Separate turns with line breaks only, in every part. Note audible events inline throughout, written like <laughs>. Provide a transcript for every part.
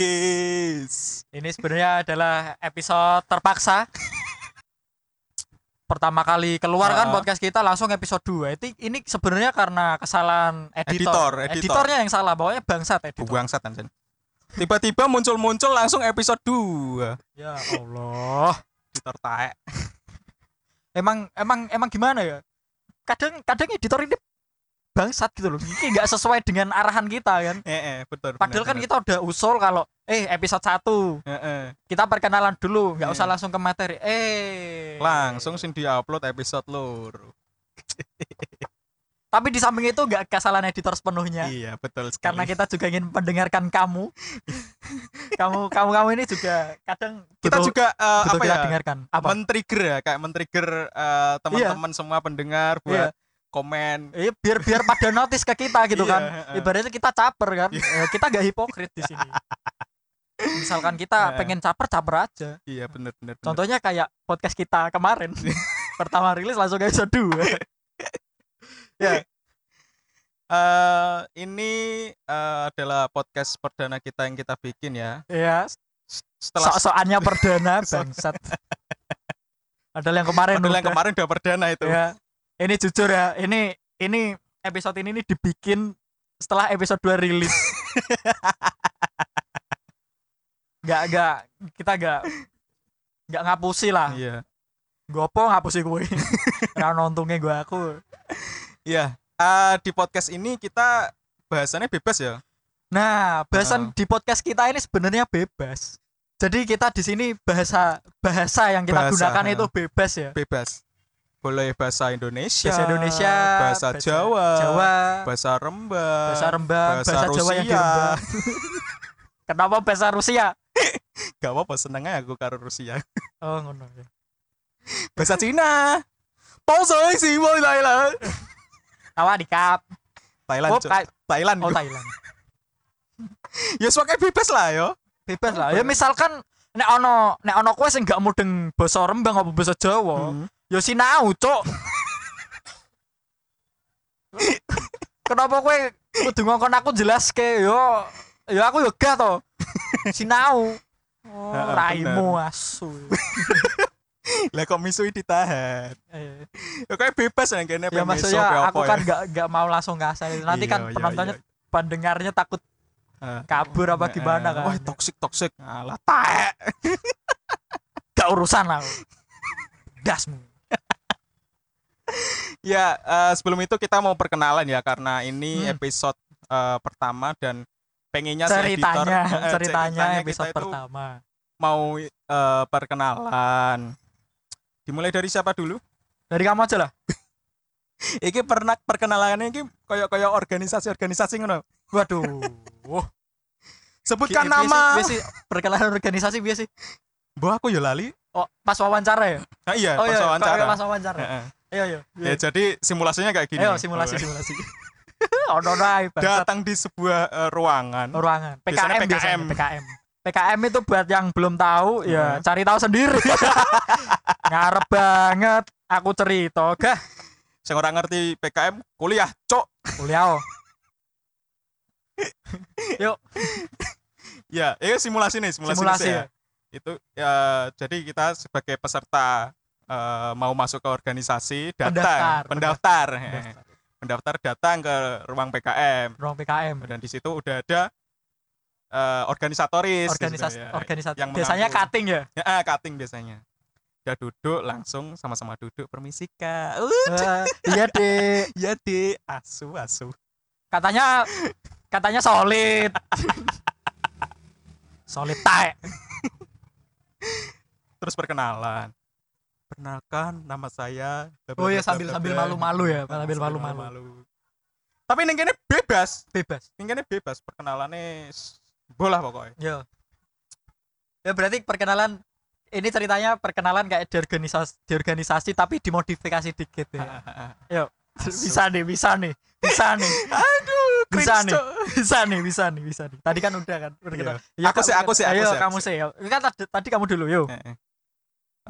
Yes.
Ini sebenarnya adalah episode terpaksa. Pertama kali keluar kan
Ah.
podcast kita langsung episode 2. Itu ini sebenarnya karena kesalahan
Editor,
editor.
editor.
Editornya yang salah, bawahnya bangsat editor.
Buang satan Sen. Tiba-tiba muncul-muncul langsung episode 2.
Ya Allah.
Editor taek.
Emang emang emang gimana ya? Kadang kadang editor ini bangsat gitu loh. Ini nggak sesuai dengan arahan kita kan.
Eh, eh, betul.
Padahal kan kita udah usul kalau eh episode 1
Heeh.
kita perkenalan dulu nggak
Iya.
usah langsung ke materi eh
Langsung sing diupload episode lur.
tapi di samping itu nggak kesalahan editor sepenuhnya
Iya, betul sekali.
Ya. karena kita juga ingin mendengarkan
<laughs>
kamu kamu kamu kamu ini juga kadang
kita
butuh-
juga eh,
butuh
apa
kita
ya?
dengarkan apa Iya.
men-trigger ya, kayak men-trigger eh, teman-teman semua pendengar buat komen.
eh, Iya. biar biar pada notice ke kita gitu
Iya,
kan
heeh. Iya.
ibaratnya kita caper kan Eh, kita nggak hipokrit di
<laughs>
sini misalkan kita
Heeh.
pengen caper caper aja
Iya, bener bener. bener.
contohnya kayak podcast kita kemarin
<laughs>
pertama rilis langsung episode 2
Eh, ini eh, adalah podcast perdana kita yang kita bikin ya.
ya
S- Setelah
sok-sokannya
<laughs>
perdana bangsat padahal yang kemarin
padahal yang
udah.
kemarin udah perdana itu.
ya ini jujur ya ini ini episode ini nih dibikin setelah episode 2
<laughs>
rilis nggak nggak kita nggak nggak ngapusi lah
Iya.
gopo ngapusi gue
<laughs>
karena untungnya gue aku
Iya. Eh, di podcast ini kita bahasannya bebas ya.
nah bahasan di podcast kita ini sebenarnya bebas jadi kita di sini bahasa bahasa yang kita
Bahasa,
gunakan
ha.
itu bebas ya
Bebas. Boleh bahasa Indonesia,
bahasa Indonesia,
bahasa, Jawa,
Jawa,
bahasa Rembang,
bahasa Rembang,
bahasa
bahasa, Jawa yang di
Rusia. <laughs>
Rembang. Kenapa bahasa Rusia?
Gak apa-apa, seneng aja aku karo Rusia.
Oh, ngono. ya.
Bahasa Cina. Pausoi sih mau Thailand.
Awak di kap.
Thailand.
Oh,
Cok.
Thai-
Thailand.
oh,
Cok.
Thailand.
ya suka bebas lah yo.
Bebas lah. Ya misalkan nek ono nek ono kowe sing gak mudeng basa Rembang apa basa Jawa,
Hmm.
ya sinau, Cuk. Kenapa kowe kudu ngongkon aku jelaske yo yo aku yo gak to. Sinau. Oh,
Heeh,
raimu
<laughs>
asu.
Lah kok misui ditahan.
Eh.
Ya kayak bebas nang kene
ya maksudnya aku kan nggak nggak mau langsung ngasal itu. nanti kan
Iya, iya,
penontonnya
iya.
pendengarnya takut
Heeh.
kabur apa gimana kan
Wah, toksik toksik. Alah taek.
gak urusan lah dasmu
Ya, eh, sebelum itu kita mau perkenalan ya karena ini
Hmm.
episode eh, pertama dan pengennya Ya, si
<laughs>
editor,
ceritanya
eh,
ceritanya
kita
episode
itu
pertama
mau eh, perkenalan. Dimulai dari siapa dulu?
dari kamu aja lah
Iki pernah perkenalannya iki koyo-koyo organisasi-organisasi ngono. <laughs>
waduh
Sebutkan
Biasa-
nama.
biasa- perkenalan organisasi biasa sih
Mbah aku ya lali.
oh pas wawancara ya
Ah, iya,
oh
pas
iya
wawancara. Eh.
pas wawancara
Heeh.
iya iya
Ya jadi simulasinya kayak gini.
ayo simulasi simulasi <laughs> ono ae bangsat.
Datang di sebuah eh, ruangan.
ruangan
Biasanya
PKM biasanya,
PKM.
PKM PKM itu buat yang belum tahu ya
Hmm.
cari tahu sendiri
<laughs>
ngarep banget aku cerita gah
Saya orang ngerti PKM kuliah, cok.
kuliah oh.
Ya, ini simulasi nih, simulasi,
simulasi ya.
nih, saya. Itu ya jadi kita sebagai peserta eh, mau masuk ke organisasi datang,
Pendaftar,
pendaftar, eh. pendaftar datang ke ruang PKM.
ruang PKM
Dan di situ udah ada eh, organisatoris di situ
organisasi
ya.
organisasi
Yang
biasanya
mengambil.
cutting
<laughs>
ya
Ya, ah, cutting biasanya. Udah duduk langsung sama-sama duduk permisi Kak. Uh,
Eh, iya deh
ya di asu asu.
katanya katanya solid solid tae
terus perkenalan perkenalkan nama saya
Oh iya, sambil- sambil malu-malu ya,
Nah,
sambil malu-malu.
tapi ini kene bebas
bebas
ini kene bebas perkenalannya s- bola pokoknya
ya ya berarti perkenalan ini ceritanya perkenalan kayak di organisasi, di organisasi tapi dimodifikasi dikit ya bisa nih bisa nih bisa nih
<laughs> aduh
<laughs> Bisa nih.
cringe, Cok.
bisa nih bisa nih bisa nih tadi kan udah kan berkenal. Iya,
Aku
Kak,
sih, aku sih, aku
ayo
sih, aku
kamu sih Yo. kan tadi, tadi kamu dulu yo
Eh, eh.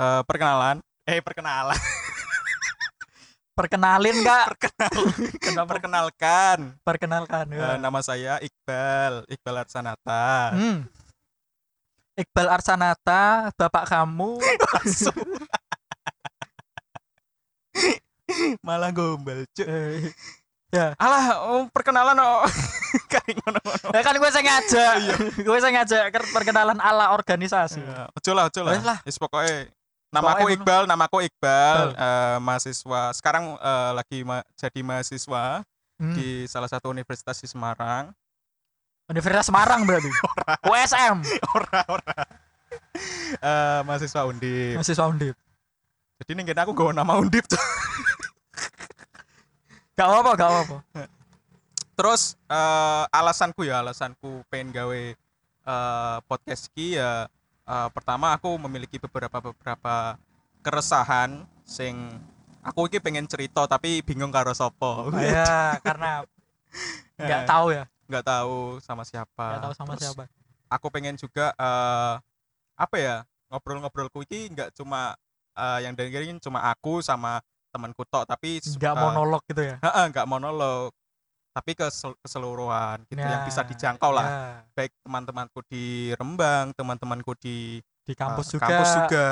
Eh, perkenalan eh perkenalan <laughs>
perkenalin kak <laughs>
Kenapa perkenalkan
perkenalkan ya.
Eh, nama saya Iqbal Iqbal Arsanata
<laughs> Hmm. Iqbal Arsanata, bapak
<laughs>
kamu.
Langsung. malah gombal cuk
Eh,
alah oh, perkenalan oh <laughs> kayak ngono-ngono
ya kan gue sengaja,
Iya.
<laughs> gue sengaja ker- perkenalan ala organisasi.
Ya, ojo lah ojo lah
Iya. Wes lah.
Wis pokoknya namaku
Pokoknya
Iqbal namaku Iqbal eh, mahasiswa sekarang eh, lagi ma- jadi mahasiswa
Hmm.
di salah satu universitas di Semarang
Universitas Semarang
<laughs>
berarti. USM.
ora ora Eh, mahasiswa undip
Mahasiswa Undip.
jadi nih aku gak nama undip tuh.
Gak apa-apa, gak apa-apa.
terus eh, alasanku ya alasanku pengen gawe eh, podcast ki ya eh, pertama aku memiliki beberapa beberapa keresahan sing aku iki pengen cerita tapi bingung karo sopo
Ya,
<laughs>
karena nggak tahu ya,
nggak tahu sama siapa
nggak tahu sama
Ah, Terus
siapa.
aku pengen juga eh apa ya ngobrol-ngobrolku iki nggak cuma eh, yang dengerin cuma aku sama temanku tok tapi se-
Nggak
eh,
monolog gitu ya.
heeh, nggak monolog tapi kesel- keseluruhan gitu yang
Ya,
bisa dijangkau lah
ya.
baik teman-temanku di Rembang, teman-temanku di
Di kampus
eh,
juga.
kampus iya. juga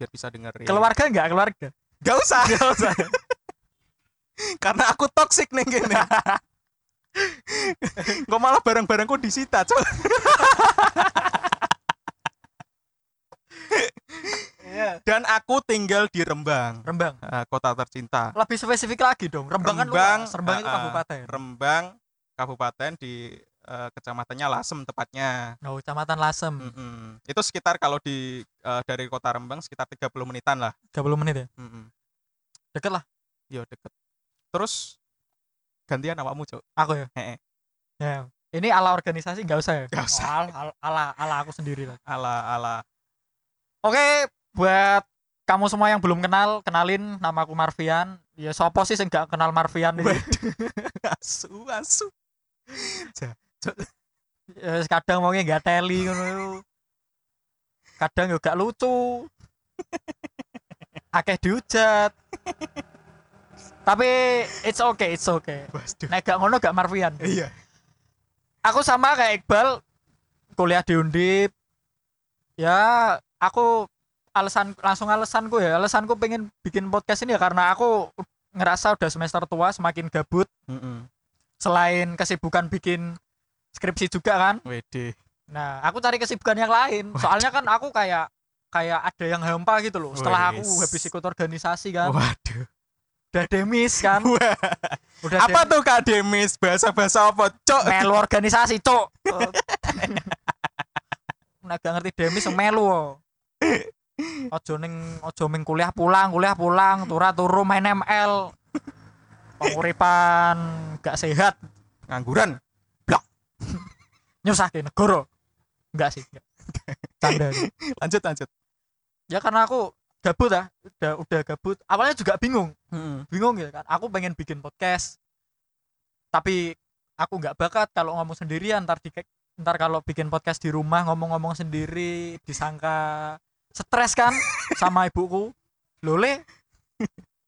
biar bisa dengerin.
Keluarga nggak keluarga?
Gak usah. <laughs> Karena aku toksik nih
<laughs>
gini. Kok malah barang-barangku disita, <laughs> Cuk.
Iya.
Dan aku tinggal di Rembang,
Rembang.
eh, kota tercinta.
Lebih spesifik lagi dong. Rembang,
Rembang,
kan luas. Rembang itu
ah, ah.
kabupaten.
Rembang, kabupaten di eh, kecamatannya Lasem tepatnya.
Oh, Kecamatan Lasem.
Mm-mm. Itu sekitar kalau di eh, dari kota Rembang sekitar 30 menitan lah.
30 menit ya.
Mm-mm.
Deket lah
Yo deket. Terus gantian awakmu, Cuk.
aku ya.
Heeh.
Ya. Ini ala organisasi nggak usah ya?
Nggak usah.
Oh, Ala, ala- ala, ala aku sendiri lah.
Ala-ala
Oke, buat kamu semua yang belum kenal, kenalin namaku Marvian. Ya sopo sih sing nggak kenal Marvian ini?
<laughs> asu asu
Ya, kadang maunya nggak teli ngono. iku. Kadang juga gak lucu. Akeh dihujat. Tapi it's okay, it's okay.
waduh
Nek gak ngono gak Marvian.
iya
aku sama kayak Iqbal kuliah di Undip ya aku alasan langsung alasanku ya alasanku pengen bikin podcast ini ya karena aku ngerasa udah semester tua semakin gabut selain kesibukan bikin skripsi juga kan
WD
nah aku cari kesibukan yang lain soalnya kan aku kayak kayak ada yang hampa gitu loh setelah aku
Wes.
habis ikut organisasi kan
waduh
udah demis kan
<laughs> Wah,
udah Nah.
apa
dem-
tuh kak Demis bahasa bahasa apa cok
melu organisasi <laughs> cok Nek gak ngerti demis yang melu wo. ojo ning ojo ming kuliah pulang kuliah pulang turu turu main ML penguripan gak sehat
ngangguran
nyusahin negara enggak sih enggak. canda ini.
lanjut lanjut
ya karena aku gabut ah udah udah gabut awalnya juga bingung bingung gitu kan aku pengen bikin podcast tapi aku nggak bakat kalau ngomong sendirian ntar di ntar kalau bikin podcast di rumah ngomong-ngomong sendiri disangka stres kan sama ibuku lole eh,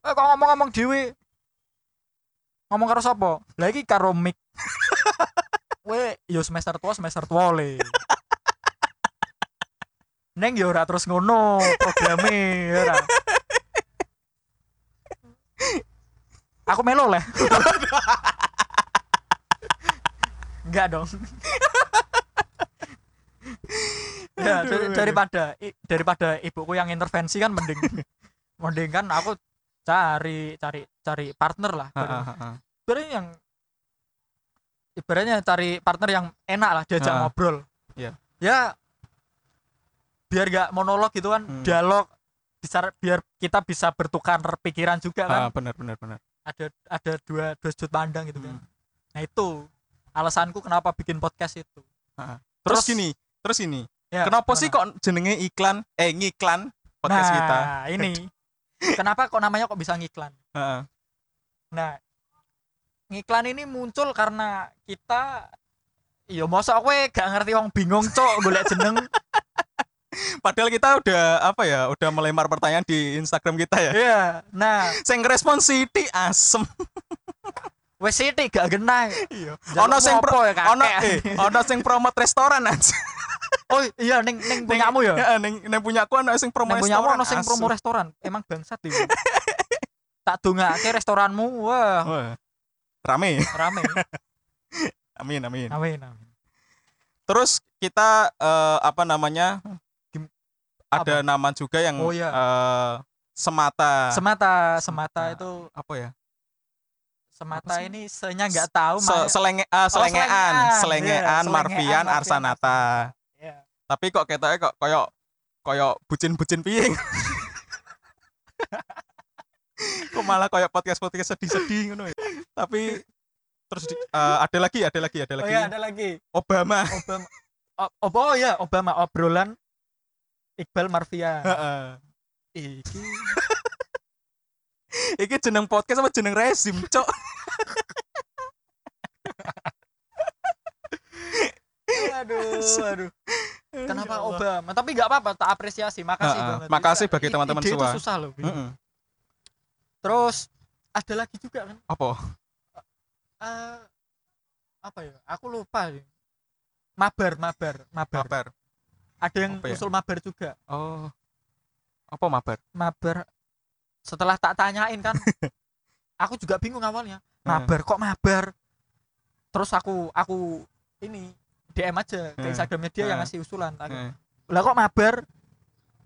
kok ngomong-ngomong dewi ngomong karo sopo lagi karo mik we yo semester tua semester tua le neng yo ora terus ngono programe ya ora aku melo lah enggak dong ya
Aduh,
dari-
aduh.
daripada i- daripada ibuku yang intervensi kan mending mending kan aku cari cari cari partner lah sebenarnya yang ibaratnya cari partner yang enak lah diajak
Ah.
ngobrol
Iya.
ya biar gak monolog gitu kan
Hmm.
dialog bisa biar kita bisa bertukar pikiran juga kan
bener bener bener
ada ada dua dua sudut pandang gitu kan
Hmm.
nah itu alasanku kenapa bikin podcast itu
terus,
Terus-
gini terus ini
Ya,
kenapa sih
gimana?
kok jenenge iklan eh ngiklan podcast
nah,
kita
ini kenapa kok namanya kok bisa ngiklan
Heeh.
Nah, ngiklan ini muncul karena
<laughs>
kita ya masa kowe gak ngerti wong bingung cok golek jeneng
Padahal kita udah apa ya, udah melempar pertanyaan di Instagram kita ya.
Iya. Nah,
Sing respon Siti asem.
wes Siti gak genah.
Iya.
Jaluk
Ono sing
ngopo
pro,
ya, kakek?
ono eh, ono sing promote restoran
<laughs>
aja.
Oh iya neng neng punyamu
<laughs>
ya.
Heeh, ning ning punyaku ono sing promo
Neng
restoran.
punyamu ono sing promo
asu.
restoran. Emang bangsat itu. tak dongake restoranmu. Wah,
Wah, Rame. <laughs>
rame.
Amin amin.
Amin amin.
Terus kita eh, apa namanya?
Gim-
Ada nama juga yang
Oh, iya.
eh, semata
Semata, semata
Semata.
itu
apa ya?
semata
Apa sih?
ini senya nggak tahu
Se
Oh, Maya.
selenge ah, selengean,
selengean.
selengean,
Iya,
Marvian,
selengean, Marvian,
Arsanata.
Iya.
Tapi kok ketoknya kok koyok koyok bucin-bucin piye? kok malah koyok podcast-podcast sedih-sedih ngono ya. Tapi terus di- eh, ada lagi, ada lagi, ada
Oh
lagi.
iya ada lagi.
Obama.
Obama. O- Ob- oh iya Obama obrolan Iqbal
<laughs>
Marvia.
Heeh.
Iki
Iki jeneng podcast apa jeneng rezim, Cok? <laughs>
aduh aduh kenapa Obama tapi nggak apa-apa tak apresiasi makasih
Heeh,
banget
Ya makasih
Bisa-
bagi
i-
teman-teman
ide itu
semua.
susah loh
Heeh.
terus ada lagi juga kan
Apa?
eh, apa ya aku lupa nih. mabar mabar mabar
Mabar.
ada yang
Apa ya?
usul mabar juga
Oh. Apa mabar?
mabar setelah tak tanyain
<laughs>
kan aku juga bingung awalnya mabar kok mabar terus aku aku ini DM aja ke
Heeh.
Instagramnya dia yang
Heeh.
ngasih usulan Aku,
Heeh.
lah kok mabar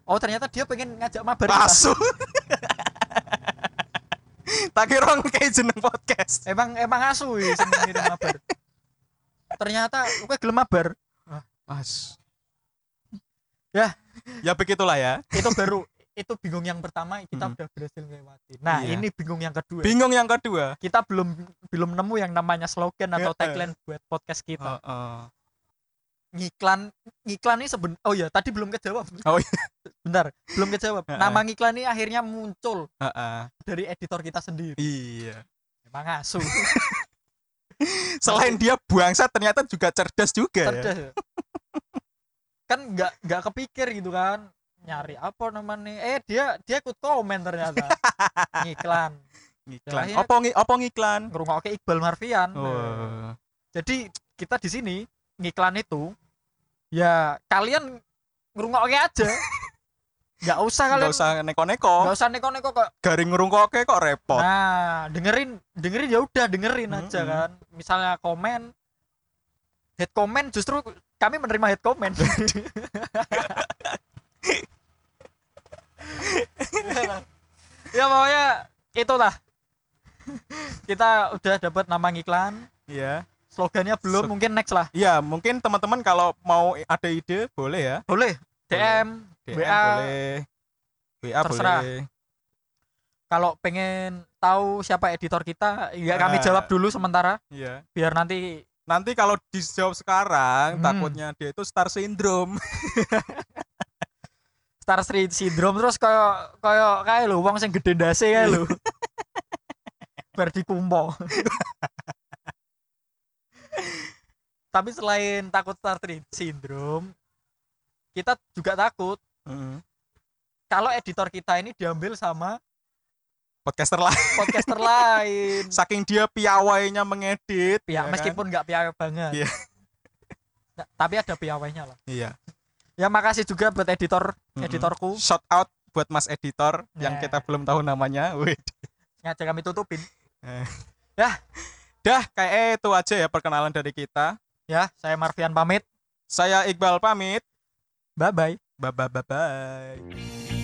oh ternyata dia pengen ngajak mabar kita.
Asu. tak kira kayak jeneng podcast.
emang emang asu ya sing ngirim mabar ternyata gue gelem mabar
Mas.
Yah.
Ya begitulah ya.
itu baru itu bingung yang pertama kita
Mm.
udah berhasil melewati nah
Iya.
ini bingung yang kedua
Bingung yang kedua.
kita belum belum nemu yang namanya slogan atau
Heeh.
tagline buat podcast kita
Heeh.
ngiklan ngiklan ini seben oh ya tadi belum kejawab
Oh iya.
<laughs> bentar belum kejawab
Heeh.
nama ngiklan ini akhirnya muncul
Heeh.
dari editor kita sendiri
Iya.
emang
<laughs>
asu
Selain dia bangsa ternyata juga cerdas juga ya.
cerdas ya. kan nggak nggak kepikir gitu kan nyari apa namanya eh dia dia ikut komen ternyata
<laughs>
ngiklan
Ngiklan.
Ya, akhirnya-
Opo ngi- opo ngiklan?
ngerungok Iqbal Marfian
Oh.
Nah, jadi kita di sini ngiklan itu ya kalian ngerungok aja
<laughs>
nggak usah kalian
Enggak usah neko-neko.
nggak usah neko-neko kok
Garing ngerungkoke kok repot.
nah dengerin dengerin ya udah dengerin aja
Mm-mm.
kan misalnya komen head comment justru kami menerima head comment ya pokoknya itulah kita udah dapat nama ngiklan
Iya.
slogannya belum
Slog-
mungkin next lah
Iya, mungkin teman-teman kalau mau ada ide boleh ya.
boleh DM
DM
WA.
boleh. WA
Terserah.
boleh.
kalau pengen tahu siapa editor kita ya kami
Ah.
jawab dulu sementara
Iya.
biar nanti
Nanti kalau dijawab
Hmm.
sekarang takutnya dia itu star syndrome.
Star Street Syndrome terus kayak kayak kayak lo wong sing gede ndase kae
<laughs>
lho. Bar dikumpo. Tapi selain takut Star Street Syndrome, kita juga takut Hmm. kalau editor kita ini diambil sama
Podcaster lah.
podcaster
<laughs>
lain.
Saking dia piawainya mengedit.
Ya,
kan?
meskipun nggak piawai banget.
Iya.
Nah, tapi ada piawainya lah.
Iya.
Ya makasih juga buat editor,
Mm-mm.
editorku.
Shout out buat Mas Editor
Nah.
yang kita belum tahu namanya. Wih.
Ngajak kami tutupin.
Dah, kayak itu aja ya perkenalan dari kita.
Ya, saya Marvian pamit.
Saya Iqbal pamit.
Bye bye.
Bye bye bye bye.